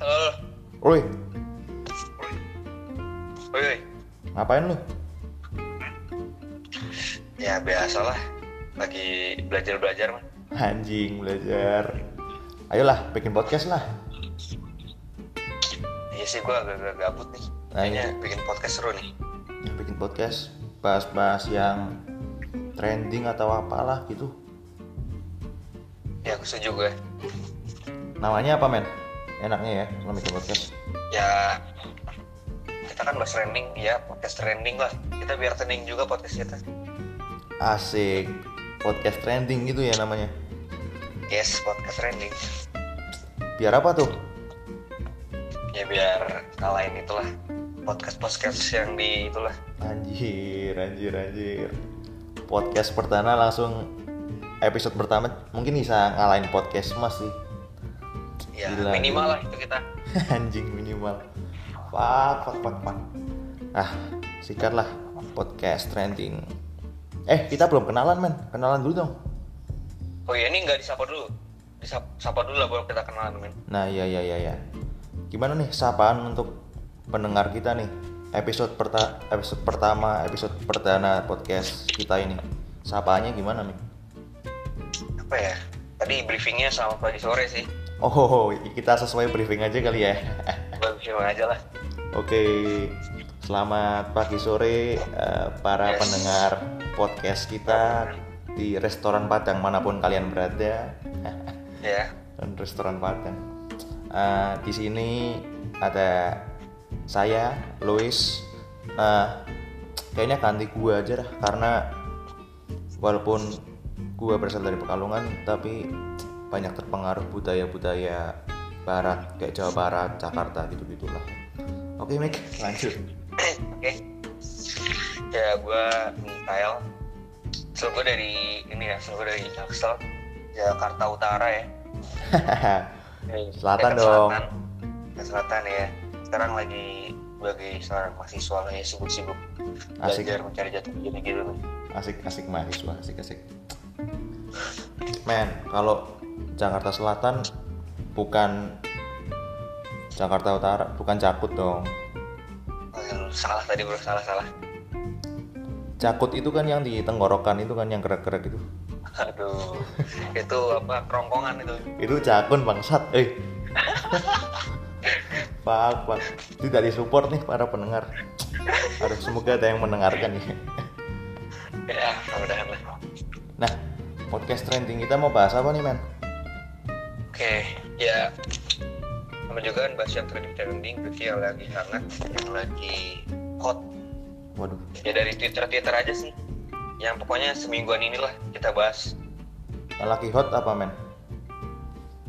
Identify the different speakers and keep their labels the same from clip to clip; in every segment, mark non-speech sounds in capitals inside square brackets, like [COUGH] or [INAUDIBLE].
Speaker 1: Halo.
Speaker 2: Oi,
Speaker 1: Woi, woi.
Speaker 2: ngapain lu?
Speaker 1: Ya biasalah. Lagi belajar-belajar, Man.
Speaker 2: Anjing belajar. Ayolah, bikin podcast lah.
Speaker 1: Iya sih gua agak-agak gabut nih.
Speaker 2: Nah,
Speaker 1: Kayaknya
Speaker 2: iya.
Speaker 1: bikin podcast seru nih.
Speaker 2: Ya, bikin podcast bahas-bahas yang trending atau apalah gitu.
Speaker 1: Ya aku setuju gue.
Speaker 2: Namanya apa, men? Enaknya ya, kalau bikin podcast.
Speaker 1: Ya kita kan bahas trending, ya podcast trending lah. Kita biar trending juga podcast kita.
Speaker 2: Asik. Podcast trending gitu ya namanya.
Speaker 1: Yes, podcast trending.
Speaker 2: Biar apa tuh?
Speaker 1: Ya biar kalahin itulah podcast-podcast yang di itulah.
Speaker 2: Anjir, anjir, anjir. Podcast pertama langsung episode pertama mungkin bisa ngalahin podcast mas sih. [LAUGHS]
Speaker 1: Ya
Speaker 2: Gila, iya.
Speaker 1: minimal
Speaker 2: gila.
Speaker 1: lah itu kita.
Speaker 2: anjing minimal pak pak pak pak ah sikatlah podcast trending eh kita belum kenalan men kenalan dulu dong
Speaker 1: Oh ya ini nggak disapa dulu. Disapa sapa dulu lah baru kita kenalan, men.
Speaker 2: nah iya iya iya iya gimana nih sapaan untuk pendengar kita nih episode perta episode pertama episode perdana podcast kita ini sapaannya gimana nih
Speaker 1: Apa ya? Tadi briefingnya sama pagi sore sih.
Speaker 2: oh kita sesuai briefing aja kali ya [LAUGHS]
Speaker 1: Gua briefing aja lah.
Speaker 2: Oke, selamat pagi sore eh, para
Speaker 1: Yes.
Speaker 2: pendengar podcast kita di restoran Padang manapun kalian berada. [LAUGHS]
Speaker 1: Ya,
Speaker 2: Dan restoran Padang. Eh, di sini ada saya, Louis. Eh, kayaknya ganti gua aja dah karena walaupun gua berasal dari Pekalongan tapi banyak terpengaruh budaya-budaya barat kayak Jawa Barat, Jakarta gitu-gitulah. Oke, Mik, lanjut. [LAUGHS]
Speaker 1: oke ya gue Mikael asal gue dari ini ya asal gue dari Jaksel Jakarta Utara ya Dari
Speaker 2: Selatan
Speaker 1: dekat
Speaker 2: dong.
Speaker 1: selatan. Dekat selatan ya sekarang lagi sebagai seorang mahasiswa lah ya sibuk-sibuk
Speaker 2: Asik.
Speaker 1: belajar mencari jati diri gitu nih
Speaker 2: asik-asik mahasiswa, asik-asik. Men, kalau Jakarta Selatan bukan Jakarta Utara, bukan Jakut dong.
Speaker 1: Aduh, salah tadi bro salah salah [LAUGHS]
Speaker 2: Jakut itu kan yang di tenggorokan itu kan yang gerak-gerak itu.
Speaker 1: aduh itu apa kerongkongan itu
Speaker 2: Itu jakun bangsat, eh. [LAUGHS] Pak, pak. Tidak disupport nih para pendengar. Aduh, semoga ada yang mendengarkan ya.
Speaker 1: ya mudah-mudahan lah
Speaker 2: Nah, podcast trending kita mau bahas apa nih, men?
Speaker 1: Oke, ya sama juga kan bahas yang trending-trending berarti yang lagi hangat, yang lagi hot
Speaker 2: Waduh,
Speaker 1: ya dari Twitter Twitter aja sih. Yang pokoknya semingguan inilah kita bahas.
Speaker 2: yang lagi hot apa, men?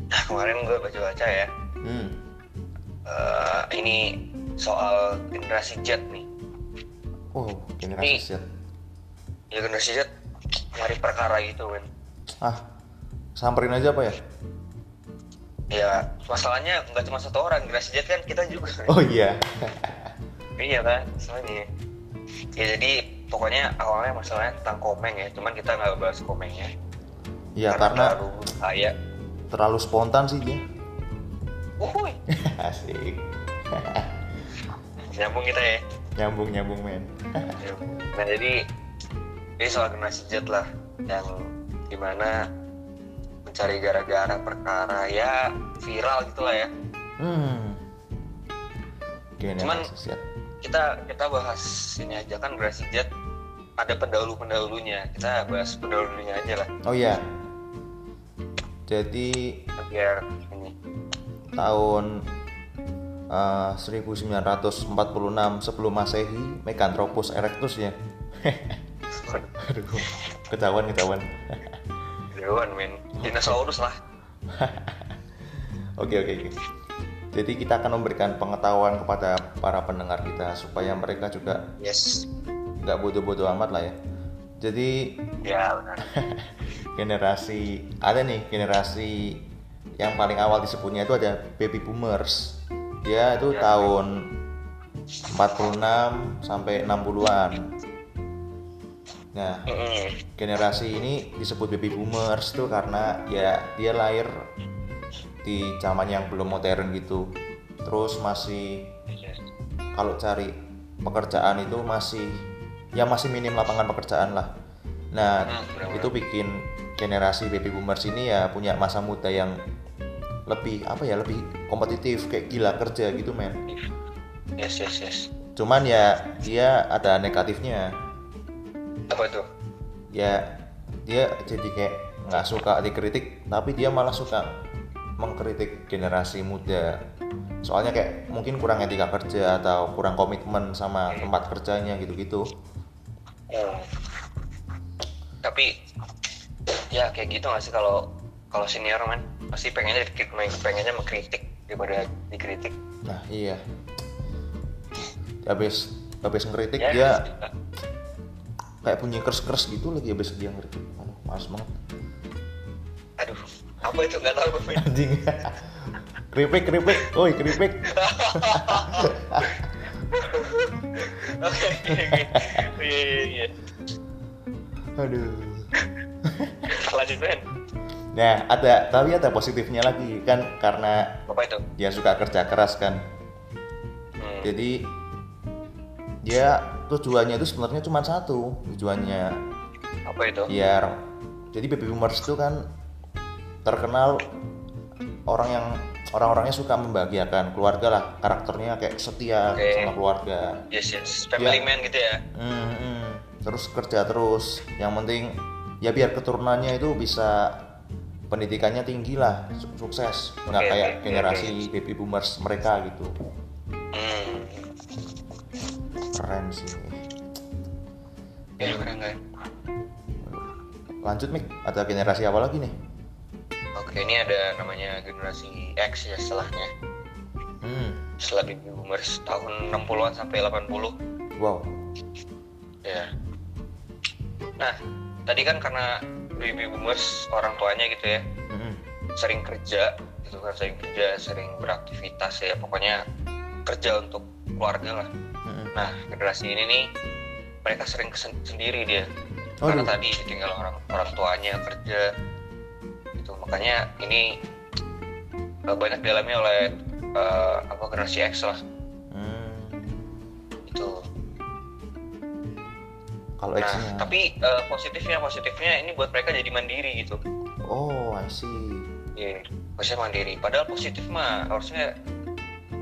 Speaker 1: Nah kemarin gue baca-baca ya,
Speaker 2: Hmm.
Speaker 1: eh, ini soal generasi Z nih.
Speaker 2: Oh, generasi Z.
Speaker 1: Ya generasi Z nyari perkara gitu kan.
Speaker 2: Ah, samperin aja apa ya?
Speaker 1: Ya masalahnya nggak cuma satu orang generasi Z kan kita juga.
Speaker 2: Oh iya.
Speaker 1: Iya kan, masalahnya. Ya jadi pokoknya awalnya masalahnya tentang komeng ya, cuman kita nggak bahas komengnya.
Speaker 2: Iya, karena
Speaker 1: terlalu bahaya.
Speaker 2: terlalu spontan sih dia.
Speaker 1: Uhuy.
Speaker 2: [LAUGHS] Asik.
Speaker 1: Nyambung kita ya.
Speaker 2: Nyambung-nyambung, men.
Speaker 1: Nah jadi ini soal generasi Z lah yang dimana mencari gara-gara perkara ya viral gitulah ya.
Speaker 2: Hmm.
Speaker 1: Cuman-
Speaker 2: Generasi Z.
Speaker 1: Kita kita bahas ini aja kan generasi Z ada pendahulu pendahulunya. Kita bahas pendahulunya aja lah
Speaker 2: Oh iya. Jadi
Speaker 1: biar ini.
Speaker 2: tahun eh, 1946 sebelum Masehi, Meganthropus erectus ya. [LAUGHS] Aduh, ketahuan ketahuan.
Speaker 1: Dewan men, dinosaurus lah.
Speaker 2: Oke oke oke. Jadi kita akan memberikan pengetahuan kepada para pendengar kita supaya mereka juga
Speaker 1: Yes.
Speaker 2: nggak bodoh-bodoh amat lah ya. Jadi
Speaker 1: Ya benar.
Speaker 2: generasi ada nih generasi yang paling awal disebutnya itu ada baby boomers. Dia itu
Speaker 1: Ya.
Speaker 2: tahun 46 sampai 60-an. Nah,
Speaker 1: Mm-mm.
Speaker 2: generasi ini disebut baby boomers tuh karena ya dia lahir di zaman yang belum modern gitu terus masih
Speaker 1: Iya.
Speaker 2: kalau cari pekerjaan itu masih ya masih minim lapangan pekerjaan lah. Nah,
Speaker 1: Hmm, benar-benar.
Speaker 2: itu bikin generasi baby boomers ini ya punya masa muda yang lebih apa ya lebih kompetitif kayak gila kerja gitu men.
Speaker 1: Yes, yes, yes.
Speaker 2: Cuman ya dia ada negatifnya.
Speaker 1: Apa tuh?
Speaker 2: Ya dia jadi kayak nggak suka dikritik tapi dia malah suka mengkritik generasi muda. Soalnya kayak mungkin kurang etika kerja atau kurang komitmen sama tempat kerjanya gitu-gitu.
Speaker 1: Hmm. Tapi ya kayak gitu nggak sih kalau kalau senior man pasti pengennya dikit- pengennya mengkritik daripada dikritik.
Speaker 2: Nah iya Habis habis ngeritik
Speaker 1: Ya,
Speaker 2: dia
Speaker 1: juga.
Speaker 2: kayak bunyi kers-kers gitu lagi habis dia ngeritik Aduh males banget
Speaker 1: Aduh, apa itu nggak tahu [LAUGHS] gue. Min.
Speaker 2: Anjing [LAUGHS] Keripik keripik Woi keripik
Speaker 1: Oke, oke, oke. Iya, iya, iya.
Speaker 2: Aduh
Speaker 1: Lanjut men.
Speaker 2: Nah ada tapi ada positifnya lagi kan karena
Speaker 1: Apa itu?
Speaker 2: dia suka kerja keras kan
Speaker 1: Hmm.
Speaker 2: Jadi dia tujuannya itu sebenarnya cuma satu tujuannya
Speaker 1: Apa itu?
Speaker 2: biar jadi baby boomers itu kan terkenal orang yang orang-orangnya suka membahagiakan keluarga lah karakternya kayak setia
Speaker 1: Oke.
Speaker 2: sama keluarga
Speaker 1: Yes, yes. Family
Speaker 2: Ya.
Speaker 1: man gitu ya.
Speaker 2: Hmm, hmm. terus kerja terus yang penting ya biar keturunannya itu bisa pendidikannya tinggi lah su- sukses nggak
Speaker 1: Oke,
Speaker 2: kayak
Speaker 1: oke,
Speaker 2: generasi baby boomers mereka gitu
Speaker 1: Hmm.
Speaker 2: keren sih
Speaker 1: Ya, keren kan?
Speaker 2: lanjut Mik ada generasi apa lagi nih
Speaker 1: Oke, ini ada namanya generasi X ya setelahnya.
Speaker 2: hmm.
Speaker 1: Setelah baby boomers tahun 60-an sampai 80.
Speaker 2: wow
Speaker 1: Ya. Nah, tadi kan karena baby boomers orang tuanya gitu ya,
Speaker 2: Hmm.
Speaker 1: sering kerja, gitu kan sering kerja, sering beraktivitas ya, pokoknya kerja untuk keluarga lah.
Speaker 2: Hmm.
Speaker 1: Nah, generasi ini nih mereka sering kesen- sendiri dia. Karena
Speaker 2: Aduh.
Speaker 1: tadi ditinggal orang orang tuanya kerja. Gitu. Makanya ini eh, banyak dialami oleh eh, apa generasi X lah
Speaker 2: Hmm.
Speaker 1: itu.
Speaker 2: Kalau
Speaker 1: Nah,
Speaker 2: X-nya.
Speaker 1: tapi eh, positifnya positifnya ini buat mereka jadi mandiri gitu.
Speaker 2: Oh, I see.
Speaker 1: Iya, maksudnya mandiri. Padahal positif mah harusnya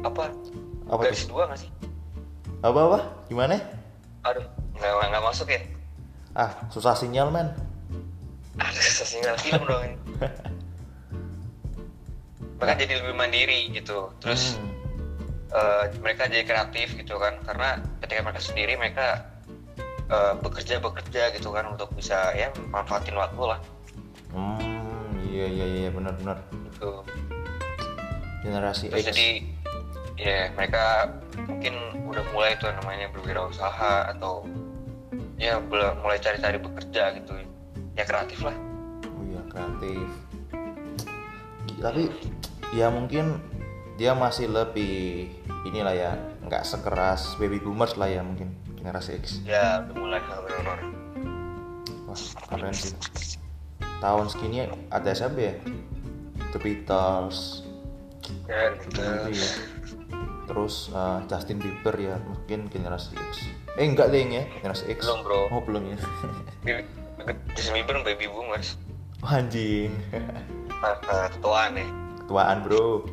Speaker 1: apa?
Speaker 2: Apa
Speaker 1: garis
Speaker 2: tuh?
Speaker 1: dua nggak sih?
Speaker 2: Apa apa? Gimana?
Speaker 1: Aduh, nggak nggak masuk ya? [LAUGHS]
Speaker 2: Ah, susah sinyal, men.
Speaker 1: Aduh, susah sinyal film dong ini. Mereka jadi lebih mandiri gitu. Terus
Speaker 2: Hmm.
Speaker 1: eh, mereka jadi kreatif gitu kan, karena ketika mereka sendiri mereka eh, bekerja bekerja gitu kan untuk bisa ya manfaatin waktu lah.
Speaker 2: Hmm, iya iya iya benar benar.
Speaker 1: Gitu.
Speaker 2: Generasi X.
Speaker 1: Terus jadi ya mereka mungkin udah mulai tuh namanya berwirausaha atau ya bela- mulai cari-cari bekerja gitu ya kreatif lah
Speaker 2: Oh iya, kreatif. Tapi ya mungkin dia masih lebih inilah ya, nggak sekeras baby boomers lah ya mungkin generasi X.
Speaker 1: ya udah mulai hal benar
Speaker 2: Wah, keren sih. Tahun segini ada siapa ya? The Beatles,
Speaker 1: ya
Speaker 2: Gitu ya. Terus eh, Justin Bieber ya mungkin generasi X. Eh enggak deh ya generasi X.
Speaker 1: Belum, bro.
Speaker 2: Oh belum ya. [LAUGHS]
Speaker 1: Justin Bieber baby boomers
Speaker 2: Anjing. [LAUGHS]
Speaker 1: Nah, nah, ketuaan ya
Speaker 2: Ketuaan bro.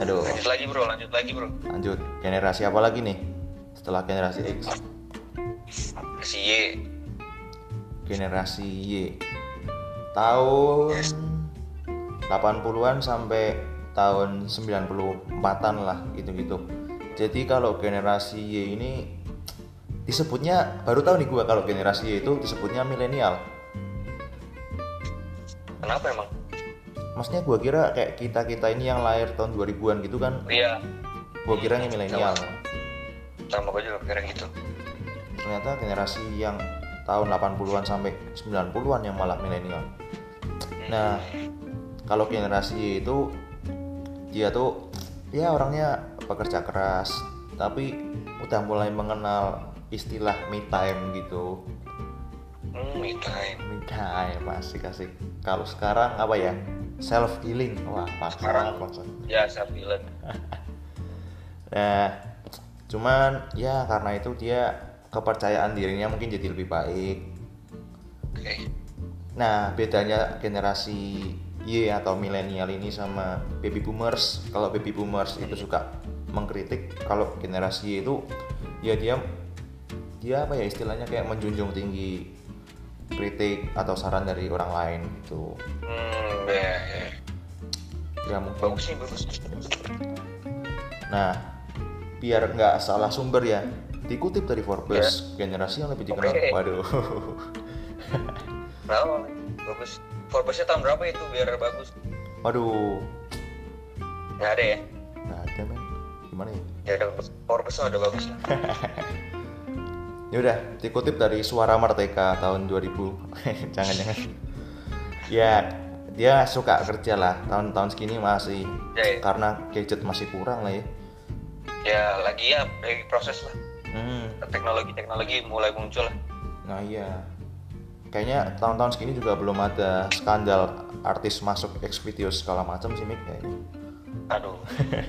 Speaker 2: Aduh.
Speaker 1: lanjut lagi bro lanjut lagi bro
Speaker 2: Lanjut generasi apa lagi nih? Setelah generasi X,
Speaker 1: si Y
Speaker 2: generasi Y. Tahun 80-an sampai tahun 94-an lah gitu-gitu. Jadi kalau generasi Y ini disebutnya baru tahu nih gua kalau generasi Y itu disebutnya milenial.
Speaker 1: kenapa emang
Speaker 2: Maksudnya gua kira kayak kita-kita ini yang lahir tahun 2000-an gitu kan
Speaker 1: iya
Speaker 2: gua kiranya milenial.
Speaker 1: sama gue juga kira gitu
Speaker 2: Ternyata generasi yang tahun 80-an sampai 90-an yang malah milenial. Nah, kalau generasi Y itu dia tuh ya orangnya pekerja keras, tapi udah mulai mengenal istilah me time gitu.
Speaker 1: hmm me time
Speaker 2: Me time asik asik. Kalau sekarang apa ya? self healing wah pas
Speaker 1: Sekarang-
Speaker 2: banget
Speaker 1: ya saya bilang
Speaker 2: Nah, cuman ya karena itu dia kepercayaan dirinya mungkin jadi lebih baik.
Speaker 1: oke
Speaker 2: Nah, bedanya generasi Y atau milenial ini sama baby boomers. Kalau baby boomers itu suka mengkritik, kalau generasi Y itu ya dia dia apa ya istilahnya kayak menjunjung tinggi kritik atau saran dari orang lain gitu.
Speaker 1: hmm ya, ya.
Speaker 2: Ya mungkin
Speaker 1: bagus sih bagus
Speaker 2: Nah, biar nggak salah sumber ya, dikutip dari Forbes, generasi yang lebih dikenal.
Speaker 1: Oke.
Speaker 2: Waduh. [LAUGHS]
Speaker 1: Kenapa? bagus Forbesnya tahun berapa itu biar bagus
Speaker 2: Waduh.
Speaker 1: nggak ada ya
Speaker 2: Nggak ada, men. Gimana ya?
Speaker 1: ya ada Forbes udah bagus lah
Speaker 2: Ya udah, dikutip dari Suara Merdeka tahun [LAUGHS] 2000. Jangan-jangan. ya, dia suka kerja lah. Tahun-tahun segini masih
Speaker 1: Ya, ya.
Speaker 2: karena gadget masih kurang lah ya.
Speaker 1: ya lagi ya lagi proses lah
Speaker 2: Hmm.
Speaker 1: teknologi teknologi mulai muncul lah
Speaker 2: Nah iya Kayaknya tahun-tahun segini juga belum ada skandal artis masuk Xvideos segala macam sih Mik kayaknya. [LAUGHS]
Speaker 1: aduh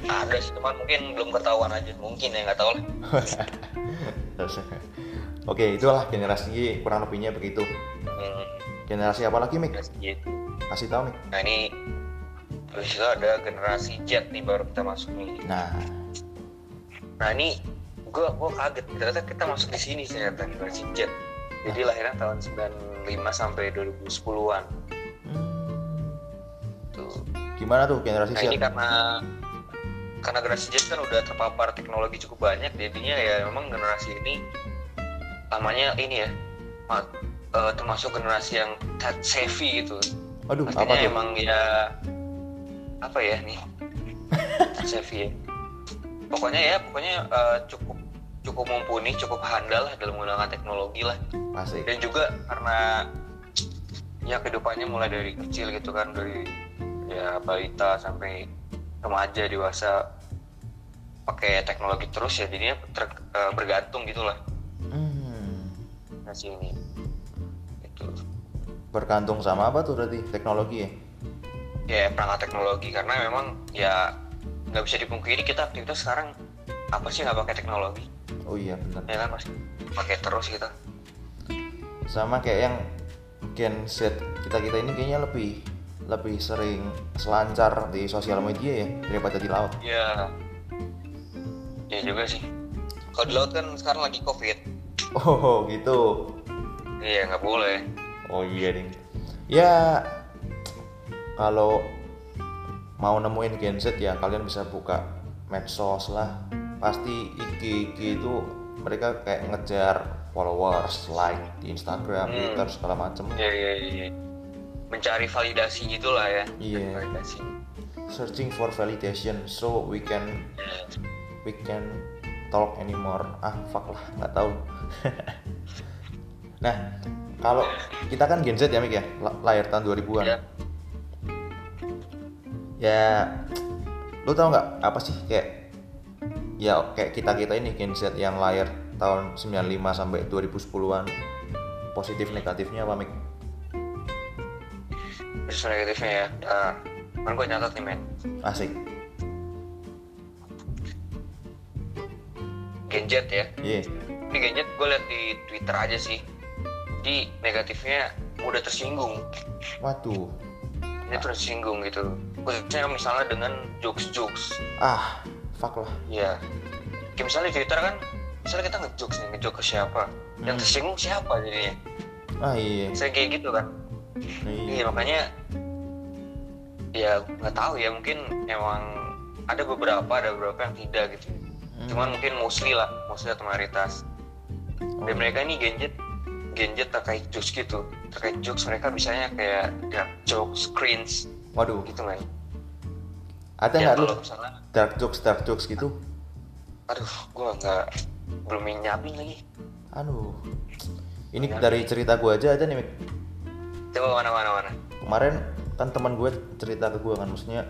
Speaker 1: ada sih cuman mungkin belum ketahuan aja mungkin ya nggak tahu lah
Speaker 2: Terus, Oke, itulah generasi Y kurang lebihnya begitu.
Speaker 1: hmm,
Speaker 2: Generasi apa lagi, Mik?
Speaker 1: generasi Y.
Speaker 2: Kasih tahu, Mik.
Speaker 1: nah ini terus itu ada generasi Z nih baru kita masuk nih
Speaker 2: Nah,
Speaker 1: nah ini gua gua kaget ternyata kita masuk di sini ternyata generasi Z jadi lahirnya tahun 95 sampai 2010-an
Speaker 2: hmm,
Speaker 1: tuh
Speaker 2: gimana tuh generasi
Speaker 1: Nah
Speaker 2: Z?
Speaker 1: ini karena karena generasi Z kan udah terpapar teknologi cukup banyak, jadinya ya memang generasi ini namanya ini ya ma- eh, termasuk generasi yang tech savvy gitu.
Speaker 2: Aduh, apa
Speaker 1: Artinya
Speaker 2: tuh?
Speaker 1: emang ya apa ya
Speaker 2: [LAUGHS]
Speaker 1: nih tech savvy ya. Pokoknya ya pokoknya eh, cukup cukup mumpuni, cukup handal lah dalam menggunakan teknologi lah
Speaker 2: Pasti.
Speaker 1: dan juga karena ya kehidupannya mulai dari kecil gitu kan dari ya balita sampai remaja dewasa pakai teknologi terus ya jadinya ter- eh, bergantung gitulah
Speaker 2: Hmm,
Speaker 1: nasi ini Gitu. itu
Speaker 2: bergantung sama apa tuh berarti teknologi ya?
Speaker 1: ya perangkat teknologi karena memang ya nggak bisa dipungkiri kita aktivitas sekarang apa sih nggak pakai teknologi
Speaker 2: Oh iya, benar.
Speaker 1: ya kan pasti pakai terus gitu
Speaker 2: Sama kayak yang Gen Z kita-kita ini kayaknya lebih lebih sering selancar di sosial media ya daripada di laut. [LAUGHS]
Speaker 1: ya ya juga sih kalau di laut kan sekarang lagi covid
Speaker 2: Oh, gitu.
Speaker 1: iya nggak boleh
Speaker 2: Oh iya ding. Ya kalau mau nemuin Gen Z ya kalian bisa buka medsos lah. Pasti IG IG itu mereka kayak ngejar followers, like di Instagram,
Speaker 1: Hmm.
Speaker 2: Twitter segala macem.
Speaker 1: ya ya ya mencari validasi gitulah ya
Speaker 2: Iya.
Speaker 1: Mencari validasi
Speaker 2: Searching for validation so we can
Speaker 1: Ya.
Speaker 2: we can talk anymore. Ah fuck lah nggak tahu. [LAUGHS] nah kalau kita kan Gen Z ya Mik ya, La- lahir tahun 2000-an.
Speaker 1: ya
Speaker 2: ya lu tau nggak apa sih kayak ya kayak kita kita ini Gen Z yang lahir tahun 95 sampai 2010-an positif negatifnya apa Mik?
Speaker 1: terus negatifnya ya nah, kan gue nyatat nih men
Speaker 2: asik
Speaker 1: genjet ya
Speaker 2: iya
Speaker 1: ini genjet gue liat di twitter aja sih di negatifnya mudah tersinggung
Speaker 2: waduh
Speaker 1: ini tersinggung gitu khususnya misalnya dengan jokes jokes
Speaker 2: ah fuck lah
Speaker 1: ya kayak misalnya di twitter kan misalnya kita ngejokes nih ngejokes ke siapa yang
Speaker 2: Hmm.
Speaker 1: tersinggung siapa jadinya
Speaker 2: ah iya
Speaker 1: saya kayak gitu kan Iya
Speaker 2: iya
Speaker 1: makanya ya nggak tahu ya mungkin emang ada beberapa ada beberapa yang tidak gitu.
Speaker 2: Hmm.
Speaker 1: Cuman mungkin mostly lah, mostly atau mayoritas.
Speaker 2: Oh.
Speaker 1: Dan mereka ini genjet genjet terkait jokes gitu, terkait jokes mereka bisanya kayak dark jokes, cringe
Speaker 2: waduh
Speaker 1: gitu kan.
Speaker 2: ada
Speaker 1: Ya
Speaker 2: nggak lu
Speaker 1: kalau misalnya,
Speaker 2: dark jokes dark jokes gitu
Speaker 1: aduh, gua nggak belum nyiapin lagi.
Speaker 2: aduh Anu, ini dari cerita gua aja ada nih Mik.
Speaker 1: Coba mana mana mana.
Speaker 2: kemarin kan teman gue cerita ke gue kan maksudnya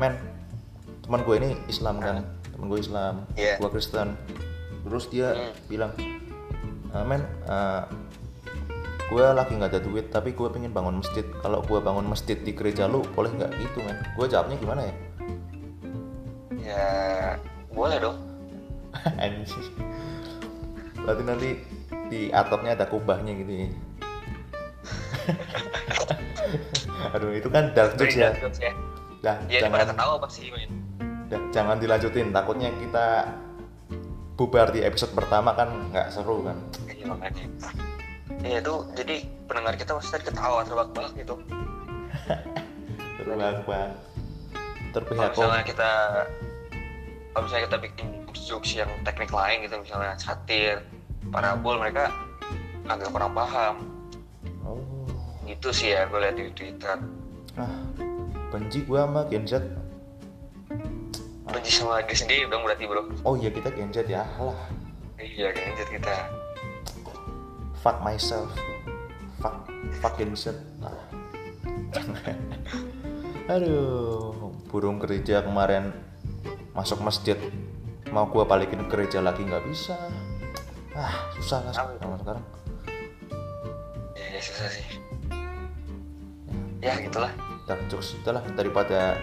Speaker 2: men teman gue ini Islam kan teman gue Islam
Speaker 1: Iya.
Speaker 2: gue Kristen terus dia
Speaker 1: Hmm.
Speaker 2: bilang "Eh, men eh, gue lagi nggak ada duit tapi gue pengen bangun masjid kalau gue bangun masjid di gereja lu boleh nggak gitu men gue jawabnya gimana ya
Speaker 1: ya boleh dong
Speaker 2: [LAUGHS] anjing berarti nanti di atapnya ada kubahnya gitu ya aduh itu kan dark jokes ya
Speaker 1: Beda jokes ya
Speaker 2: dah
Speaker 1: ya daripada
Speaker 2: jangan
Speaker 1: ketawa pasti men
Speaker 2: dah, jangan dilanjutin takutnya kita bubar di episode pertama kan nggak seru kan
Speaker 1: iya makanya iya itu jadi pendengar kita pasti tadi ketawa terbak-bak gitu
Speaker 2: terbang bang
Speaker 1: kalau
Speaker 2: terpihak kok
Speaker 1: misalnya kita kalau misalnya kita bikin jokes yang teknik lain gitu misalnya satir parabol mereka agak kurang paham
Speaker 2: oh
Speaker 1: gitu sih ya gue lihat di twitter
Speaker 2: ah benci gue sama Gen Z
Speaker 1: benci sama diri sendiri dong berarti bro
Speaker 2: oh iya kita Gen Z ya lah
Speaker 1: iya kan jadi kita
Speaker 2: fuck myself fuck fucking shit Ah. [LAUGHS] aduh burung gereja kemarin masuk masjid mau gua balikin ke gereja lagi nggak bisa ah susah lah sekarang sekarang
Speaker 1: ya, ya susah sih ya gitulah
Speaker 2: dark jokes itulah daripada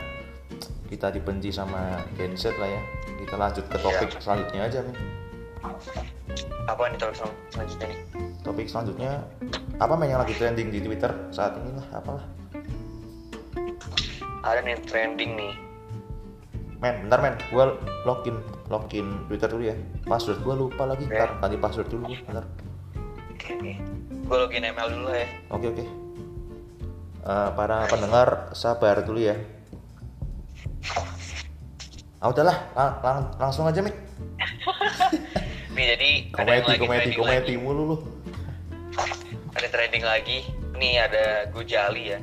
Speaker 2: kita dibenci sama Gen Z lah ya kita lanjut ke topik
Speaker 1: Iya.
Speaker 2: selanjutnya aja nih
Speaker 1: apa nih topik sel- selanjutnya nih
Speaker 2: topik selanjutnya apa main yang lagi trending di Twitter saat ini lah apalah
Speaker 1: ada nih trending nih
Speaker 2: Men, bentar men, gue login login Twitter dulu ya. Password gue lupa lagi.
Speaker 1: Oke.
Speaker 2: Ntar ganti password dulu gue. Bentar.
Speaker 1: oke nih gue login ML dulu ya
Speaker 2: Oke oke. Eh, para pendengar sabar dulu ya. Ah udahlah, lang- lang- langsung aja mik.
Speaker 1: nih jadi ada yang
Speaker 2: Komedi komedi
Speaker 1: lagi trending lagi.
Speaker 2: komedi mulu lu.
Speaker 1: ada trending lagi nih ada Gojali ya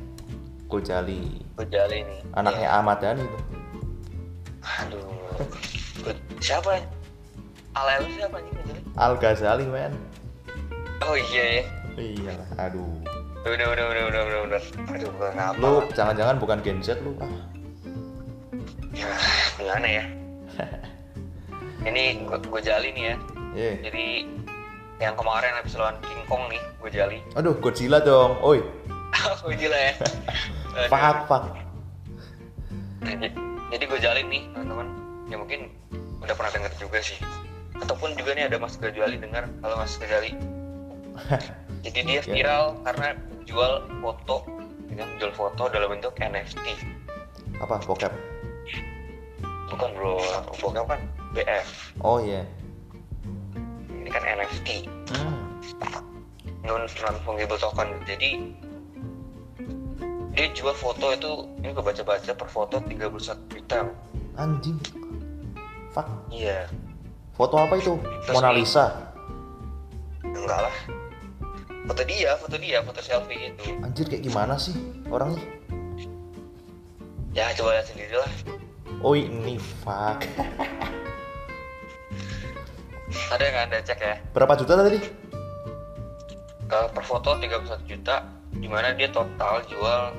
Speaker 2: Gojali,
Speaker 1: Gojali nih
Speaker 2: anaknya Ahmad Dhani tuh.
Speaker 1: Ya. aduh Go- siapa ya Alel siapa nih Gojali
Speaker 2: Al Ghazali men.
Speaker 1: oh iya ya
Speaker 2: Iyalah, aduh.
Speaker 1: udah udah udah udah udah udah aduh gue ngapa
Speaker 2: Lu jangan-jangan bukan Gen Z lu. Ah,
Speaker 1: ya gimana
Speaker 2: [LAUGHS]
Speaker 1: ya ini Go- Gojali nih ya
Speaker 2: Iya.
Speaker 1: jadi yang kemarin habis lawan King Kong nih Gojali [LAUGHS]
Speaker 2: Aduh, Godzilla dong. Oi,
Speaker 1: aku gila ya Aduh.
Speaker 2: fuck fuck.
Speaker 1: Jadi- [LAUGHS] jadi gue jalin nih teman-teman ya mungkin udah pernah denger juga sih ataupun juga nih ada Mas Gajali dengar kalau Mas Gajali jadi dia viral karena jual foto dengan jual foto dalam bentuk NFT
Speaker 2: Apa bokep?
Speaker 1: bukan bro bukan kan BF
Speaker 2: Oh iya.
Speaker 1: ini kan NFT
Speaker 2: Hmm.
Speaker 1: non non fungible token jadi dia jual foto itu ini gue baca-baca per foto 31 juta
Speaker 2: Anjing. Fuck.
Speaker 1: iya
Speaker 2: Foto apa itu?
Speaker 1: Terus
Speaker 2: Mona
Speaker 1: ini-
Speaker 2: Lisa.
Speaker 1: enggak lah foto dia foto dia foto selfie gitu. itu
Speaker 2: Anjir kayak gimana sih orangnya?
Speaker 1: ya coba lihat sendiri lah
Speaker 2: Oh ini fuck.
Speaker 1: ada yang anda cek ya
Speaker 2: Berapa juta tadi?
Speaker 1: Eh, per foto 31 juta dimana dia total jual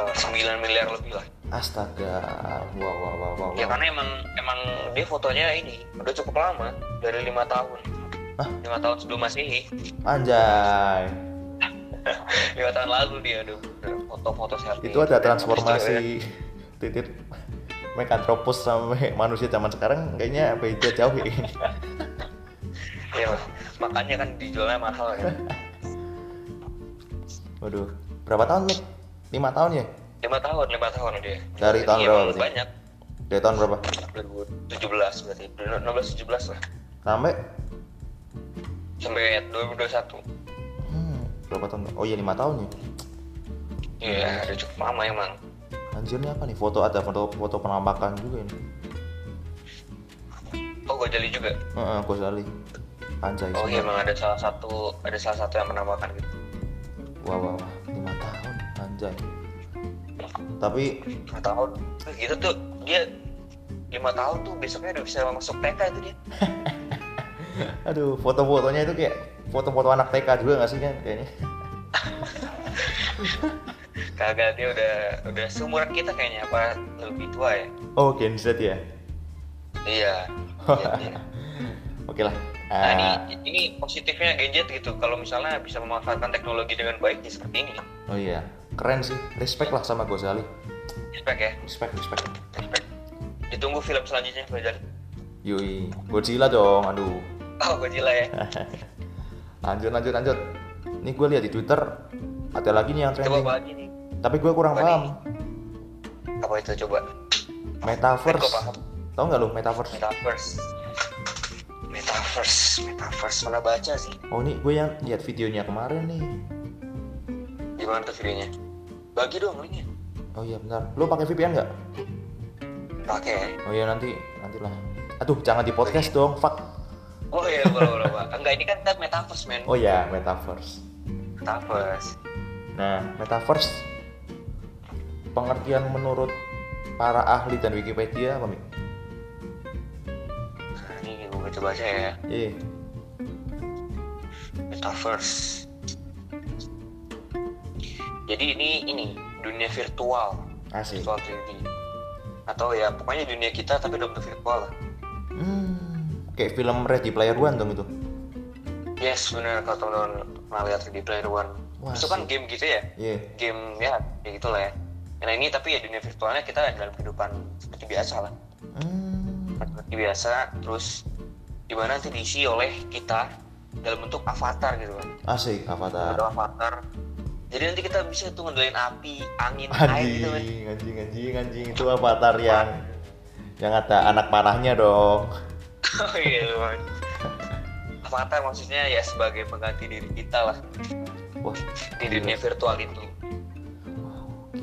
Speaker 1: eh, 9 miliar lebih lah
Speaker 2: Astaga. Wow wow wow wow. wow.
Speaker 1: ya karena emang emang dia fotonya ini udah cukup lama dari lima tahun
Speaker 2: Hah?
Speaker 1: lima tahun sebelum masehi
Speaker 2: Anjay.
Speaker 1: [LAUGHS] lima tahun lalu dia aduh foto-foto selfie
Speaker 2: Itu ada
Speaker 1: Habis juga
Speaker 2: transformasi titik Mekantropus sampai manusia zaman sekarang kayaknya beda jauh ya ini.
Speaker 1: ya. Iya, makanya kan dijualnya mahal kan
Speaker 2: [LAUGHS] Waduh, berapa tahun nih? Lima tahun ya?
Speaker 1: lima tahun lima tahun dia
Speaker 2: Dari tahun berapa
Speaker 1: Iya, emang
Speaker 2: berarti?
Speaker 1: banyak
Speaker 2: Dari tahun berapa?
Speaker 1: 2017 berarti 16 17 lah
Speaker 2: Sampai
Speaker 1: sampai 2021
Speaker 2: hmm, berapa tahun? Oh iya lima tahun ya.
Speaker 1: iya udah cukup lama emang
Speaker 2: Anjir ini apa nih? Foto ada foto foto penampakan juga ini.
Speaker 1: oh Gojali juga
Speaker 2: Heeh, Gus Ali. Anjay.
Speaker 1: oh iya
Speaker 2: semua.
Speaker 1: emang ada salah satu ada salah satu yang menambahkan gitu
Speaker 2: Wah, wah, wah. 5 tahun, anjay. Tapi [CLEARS THROAT]
Speaker 1: lima tahun Eh, gitu tuh dia lima tahun tuh besoknya udah bisa masuk TK itu dia
Speaker 2: aduh, foto-fotonya itu kayak foto-foto anak TK juga nggak sih kan kayaknya. [LAUGHS]
Speaker 1: kagak dia udah udah seumuran kita kayaknya apa lebih tua ya
Speaker 2: Oh, Gen Z ya.
Speaker 1: iya iya, iya.
Speaker 2: Oke lah.
Speaker 1: Nah ini,
Speaker 2: Ah,
Speaker 1: ini positifnya gadget gitu. Kalau misalnya bisa memanfaatkan teknologi dengan baik nih seperti ini,
Speaker 2: oh iya keren sih respect lah sama Gozali
Speaker 1: respect ya,
Speaker 2: respect respect
Speaker 1: respect. Ditunggu film selanjutnya Fajar.
Speaker 2: yoi Godzilla dong aduh
Speaker 1: Oh Godzilla ya.
Speaker 2: lanjut lanjut lanjut ini gue lihat di Twitter ada lagi nih yang
Speaker 1: Coba
Speaker 2: trending
Speaker 1: bagi nih.
Speaker 2: tapi gue kurang
Speaker 1: Apa
Speaker 2: paham
Speaker 1: Apa itu coba?
Speaker 2: metaverse
Speaker 1: Gua paham.
Speaker 2: tau nggak lu metaverse
Speaker 1: Metaverse. Metaverse, metaverse. Mana baca sih?
Speaker 2: oh ini gue yang lihat videonya kemarin nih
Speaker 1: Gimana tuh videonya? Bagi dong linknya.
Speaker 2: oh iya benar lu pakai VPN nggak
Speaker 1: Pakai.
Speaker 2: oh iya nanti nantilah aduh jangan di podcast dong fuck
Speaker 1: Oh iya, boleh boleh. boleh. Enggak ini kan tab metaverse men.
Speaker 2: oh iya metaverse
Speaker 1: Metaverse.
Speaker 2: Nah, metaverse pengertian menurut para ahli dan Wikipedia apa Mi?
Speaker 1: Nah, ini gue baca baca ya.
Speaker 2: Eh,
Speaker 1: Metaverse. Jadi ini ini dunia virtual,
Speaker 2: asik.
Speaker 1: virtual 3D. Atau ya pokoknya dunia kita tapi dalam bentuk virtual lah.
Speaker 2: Hmm, kayak film Ready Player One dong itu.
Speaker 1: Yes, benar kalau teman-teman pernah lihat di Player One.
Speaker 2: Wah,
Speaker 1: itu kan
Speaker 2: sih.
Speaker 1: game gitu ya.
Speaker 2: Iya.
Speaker 1: Game ya kayak gitulah ya. Nah ini tapi ya dunia virtualnya kita dalam kehidupan seperti biasa lah.
Speaker 2: Hmm,
Speaker 1: Seperti biasa terus dimana nanti diisi oleh kita dalam bentuk avatar gitu kan.
Speaker 2: asik
Speaker 1: Ada
Speaker 2: Avatar.
Speaker 1: avatar. Jadi nanti kita bisa tuh ngendalin api, angin, air gitu kan.
Speaker 2: Anjing, anjing, anjing, anjing itu Avatar yang yang ada anak panahnya dong.
Speaker 1: [LAUGHS] Oh iya Luan. Avatar maksudnya ya sebagai pengganti diri kita lah
Speaker 2: Wah,
Speaker 1: di dunia virtual itu.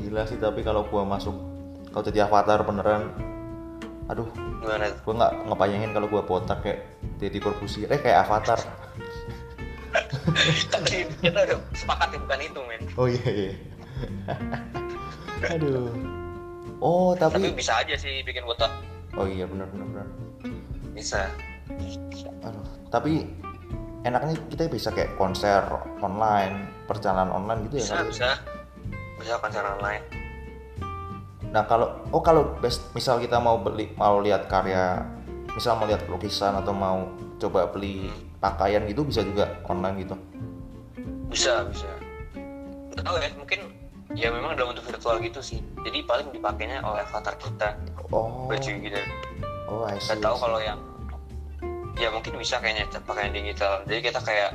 Speaker 2: gila sih tapi kalau gua masuk kalau jadi Avatar beneran aduh
Speaker 1: Gimana? tuh? [LAUGHS]
Speaker 2: gue nggak ngebayangin kalau gue botak kayak Deddy Corbuzier eh kayak Avatar
Speaker 1: Tapi kita udah sepakat ya, bukan itu men.
Speaker 2: oh iya iya aduh oh
Speaker 1: Tapi
Speaker 2: tapi
Speaker 1: bisa aja sih bikin botak.
Speaker 2: oh iya benar benar benar
Speaker 1: Bisa.
Speaker 2: aduh tapi enaknya kita bisa kayak konser online perjalanan online gitu ya
Speaker 1: Bisa,
Speaker 2: kali ya?
Speaker 1: bisa. Bisa konser online.
Speaker 2: nah kalau oh kalau best misal kita mau beli mau lihat karya misal mau lihat lukisan atau mau coba beli pakaian gitu bisa juga online gitu
Speaker 1: Bisa, bisa. Gak tau ya, mungkin ya memang dalam bentuk virtual gitu sih. Jadi paling dipakainya oleh avatar kita.
Speaker 2: oh
Speaker 1: Baju gitu.
Speaker 2: oh I see,
Speaker 1: Gak tahu
Speaker 2: I see.
Speaker 1: kalau yang ya mungkin bisa kayaknya pakaian digital. Jadi kita kayak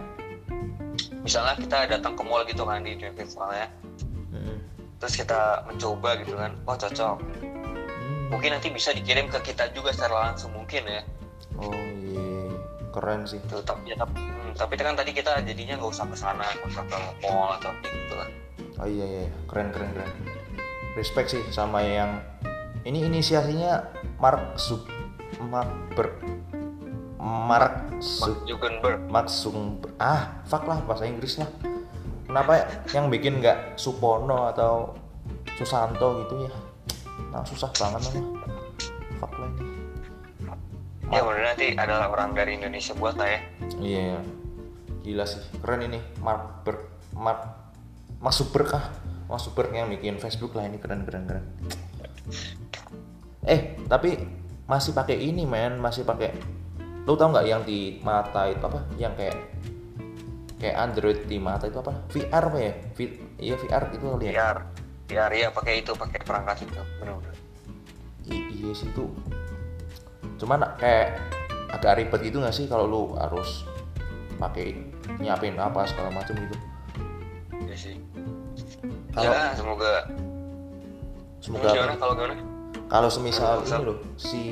Speaker 1: misalnya kita datang ke mall gitu kan di dunia virtualnya,
Speaker 2: Mm-mm.
Speaker 1: terus kita mencoba gitu kan, wah cocok.
Speaker 2: Hmm.
Speaker 1: Mungkin nanti bisa dikirim ke kita juga secara langsung mungkin ya.
Speaker 2: Oh iya, keren sih.
Speaker 1: Tuh, tapi, ya, tapi, hmm, tapi kan tadi kita jadinya nggak usah ke sana, nggak usah ke mall atau kayak gitu lah.
Speaker 2: Oh iya iya, keren keren keren. Respect sih sama yang ini inisiasinya Mark Zuk Mark Ber Mark
Speaker 1: Mark
Speaker 2: Zuk
Speaker 1: Zuckerberg.
Speaker 2: Mark Zuckerberg. ah fuck lah bahasa Inggris lah. Kenapa ya? yang bikin nggak Supono atau Susanto gitu ya? Nah susah banget nama. Fuck lah ini.
Speaker 1: Ya mudah nanti adalah orang dari Indonesia buat lah ya.
Speaker 2: Oh. Iya, gila sih, keren ini Mark Ber Mark Mark Zuckerberg ah, Mark Zuckerberg yang bikin Facebook lah ini keren keren keren. Eh tapi masih pakai ini men, masih pakai lu tau nggak yang di mata itu apa? Yang kayak kayak Android di mata itu apa? VR apa ya? V- iya VR itu kali ya.
Speaker 1: Biar, biar ya pakai itu, pakai perangkat itu, benar-benar.
Speaker 2: I- iya sih itu cuman kayak agak ribet gitu nggak sih kalau lu harus pakai nyiapin apa segala macam gitu
Speaker 1: Ya sih.
Speaker 2: Kalau-
Speaker 1: Ya, semoga
Speaker 2: semoga
Speaker 1: gimana kalau gimana?
Speaker 2: kalau semisal
Speaker 1: Semoga-
Speaker 2: ini loh si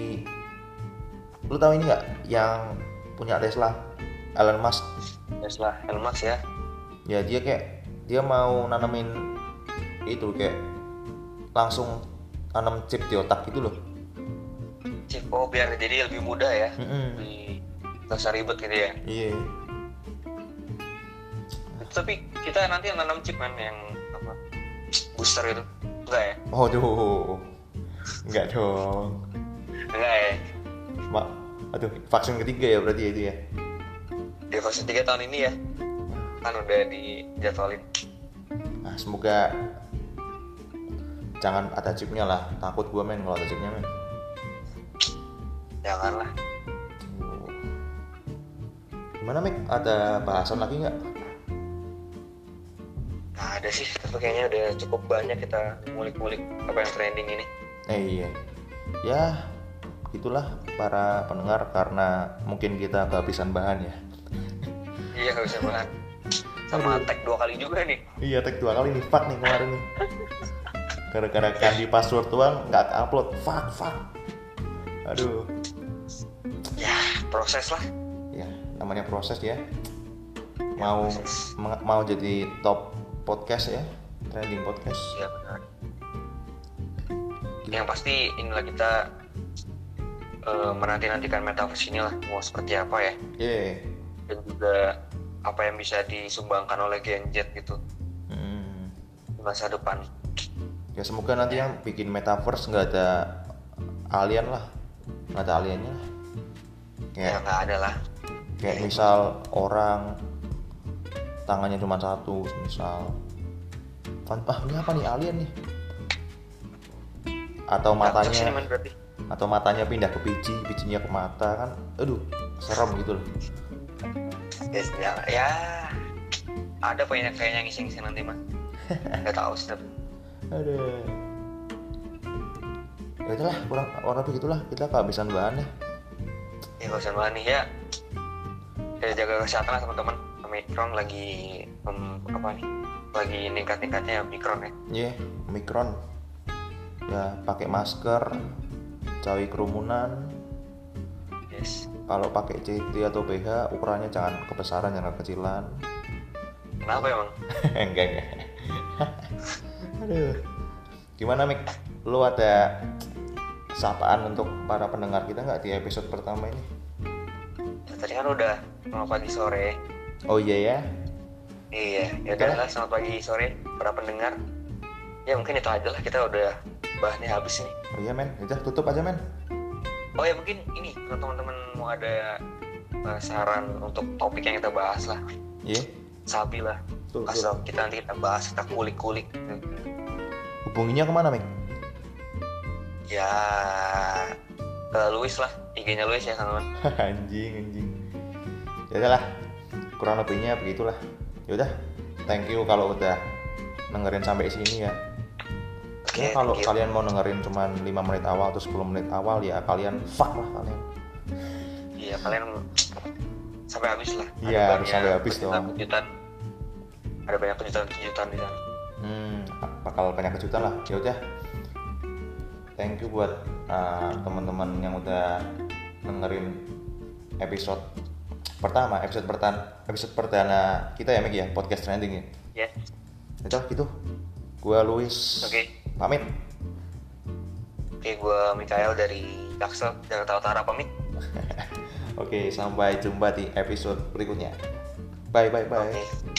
Speaker 2: lu tahu ini nggak yang punya Tesla Elon Musk
Speaker 1: Tesla, Elon Musk ya.
Speaker 2: ya dia kayak dia mau nanamin itu kayak langsung tanam chip di otak gitu loh
Speaker 1: Chip oh biar jadi lebih mudah ya.
Speaker 2: Mm-mm.
Speaker 1: Lebih nggak usah ribet gitu ya.
Speaker 2: iya
Speaker 1: Tapi kita nanti yang nanam chip kan yang apa? Booster itu. Enggak ya?
Speaker 2: oh aduh nggak dong
Speaker 1: Enggak ya.
Speaker 2: Ma aduh, vaksin ketiga ya berarti ya itu ya.
Speaker 1: Di vaksin 3 tahun ini ya. Kan udah dijadwalin.
Speaker 2: Nah, semoga jangan ada chipnya lah. Takut gua men kalau ada chipnya men.
Speaker 1: Janganlah.
Speaker 2: Gimana Mik? Ada bahasan lagi nggak?
Speaker 1: Nggak ada sih, tapi kayaknya udah cukup banyak kita ngulik-ngulik apa yang trending ini.
Speaker 2: Eh iya. Ya itulah para pendengar karena mungkin kita kehabisan bahan ya.
Speaker 1: Iya, nggak bisa banget. Sama tag dua kali juga nih.
Speaker 2: Iya tag dua kali nih fuck nih kemarin nih. Gara-gara kan di password doang nggak upload fuck fuck. Aduh.
Speaker 1: Ya, proses lah.
Speaker 2: ya namanya proses ya mau meng- mau jadi top podcast ya trending podcast
Speaker 1: Iya benar. Yang pasti inilah kita eh, menanti-nantikan metaverse ini lah mau seperti apa ya
Speaker 2: ye
Speaker 1: dan juga apa yang bisa disumbangkan oleh Gen Z gitu
Speaker 2: Hmm.
Speaker 1: di masa depan.
Speaker 2: ya semoga nanti yang bikin metaverse nggak ada alien lah nggak ada aliennya lah.
Speaker 1: Ya
Speaker 2: kayak
Speaker 1: nggak ada lah.
Speaker 2: kayak misal orang tangannya cuma satu misal Pan- ah ini apa nih alien nih atau
Speaker 1: Nggak cocok sih,
Speaker 2: matanya
Speaker 1: men, berarti.
Speaker 2: atau matanya pindah ke biji bijinya ke mata kan aduh serem gitu loh
Speaker 1: Ya, ya, ya, ada banyak kayaknya yang ngisi-ngisi nanti mah. Nggak tahu sih tapi.
Speaker 2: ada ya itulah kurang orang begitulah kita kehabisan bahan ya
Speaker 1: Ya nggak usah malah nih ya. Ya jaga kesehatan lah teman-teman. Omikron lagi mem- apa nih? Lagi ningkat-ningkatnya Omikron ya.
Speaker 2: iya omikron ya pakai masker jauhi kerumunan
Speaker 1: Yes.
Speaker 2: kalau pakai CT atau BH ukurannya jangan kebesaran jangan kekecilan
Speaker 1: Kenapa emang?
Speaker 2: [LAUGHS] enggak enggak [LAUGHS] aduh gimana Mik lu ada sapaan untuk para pendengar kita nggak di episode pertama ini
Speaker 1: Ya, tadi kan udah selamat pagi sore.
Speaker 2: oh iya ya
Speaker 1: Iya, ya
Speaker 2: Oke.
Speaker 1: udah lah selamat pagi sore para pendengar. Ya mungkin itu aja lah kita udah bahannya habis nih.
Speaker 2: oh iya men udah tutup aja men
Speaker 1: Oh ya mungkin ini kalau teman-teman mau ada eh, saran untuk topik yang kita bahas lah,
Speaker 2: iya
Speaker 1: sabi lah.
Speaker 2: Tuh, tuh.
Speaker 1: Asal kita nanti kita bahas kita kulik-kulik. gitu.
Speaker 2: hubunginya kemana Mik
Speaker 1: Ya ke Luis lah, IG-nya Luis ya teman-teman.
Speaker 2: [LAUGHS] anjing anjing ya udahlah kurang lebihnya begitulah ya udah thank you kalau udah dengerin sampai sini ya Ya, kalau
Speaker 1: thank you.
Speaker 2: kalian mau dengerin cuman 5 menit awal atau 10 menit awal ya kalian fuck lah kalian
Speaker 1: Iya kalian sampai habis lah. Ada
Speaker 2: Iya, harus
Speaker 1: banyak
Speaker 2: sampai habis dong.
Speaker 1: Kejutan, ada banyak kejutan-kejutan di sana.
Speaker 2: hmm, bakal banyak kejutan lah ya udah thank you buat uh, teman-teman yang udah dengerin episode pertama episode pertama episode perdana kita ya Meg ya podcast trending ya
Speaker 1: Yes.
Speaker 2: Udah gitu. Gua Luis.
Speaker 1: Oke.
Speaker 2: Pamit.
Speaker 1: Oke, gue Mikael dari Jaksel, Jakarta Utara pamit.
Speaker 2: Oke, sampai jumpa di episode berikutnya. Bye bye bye.
Speaker 1: Oke.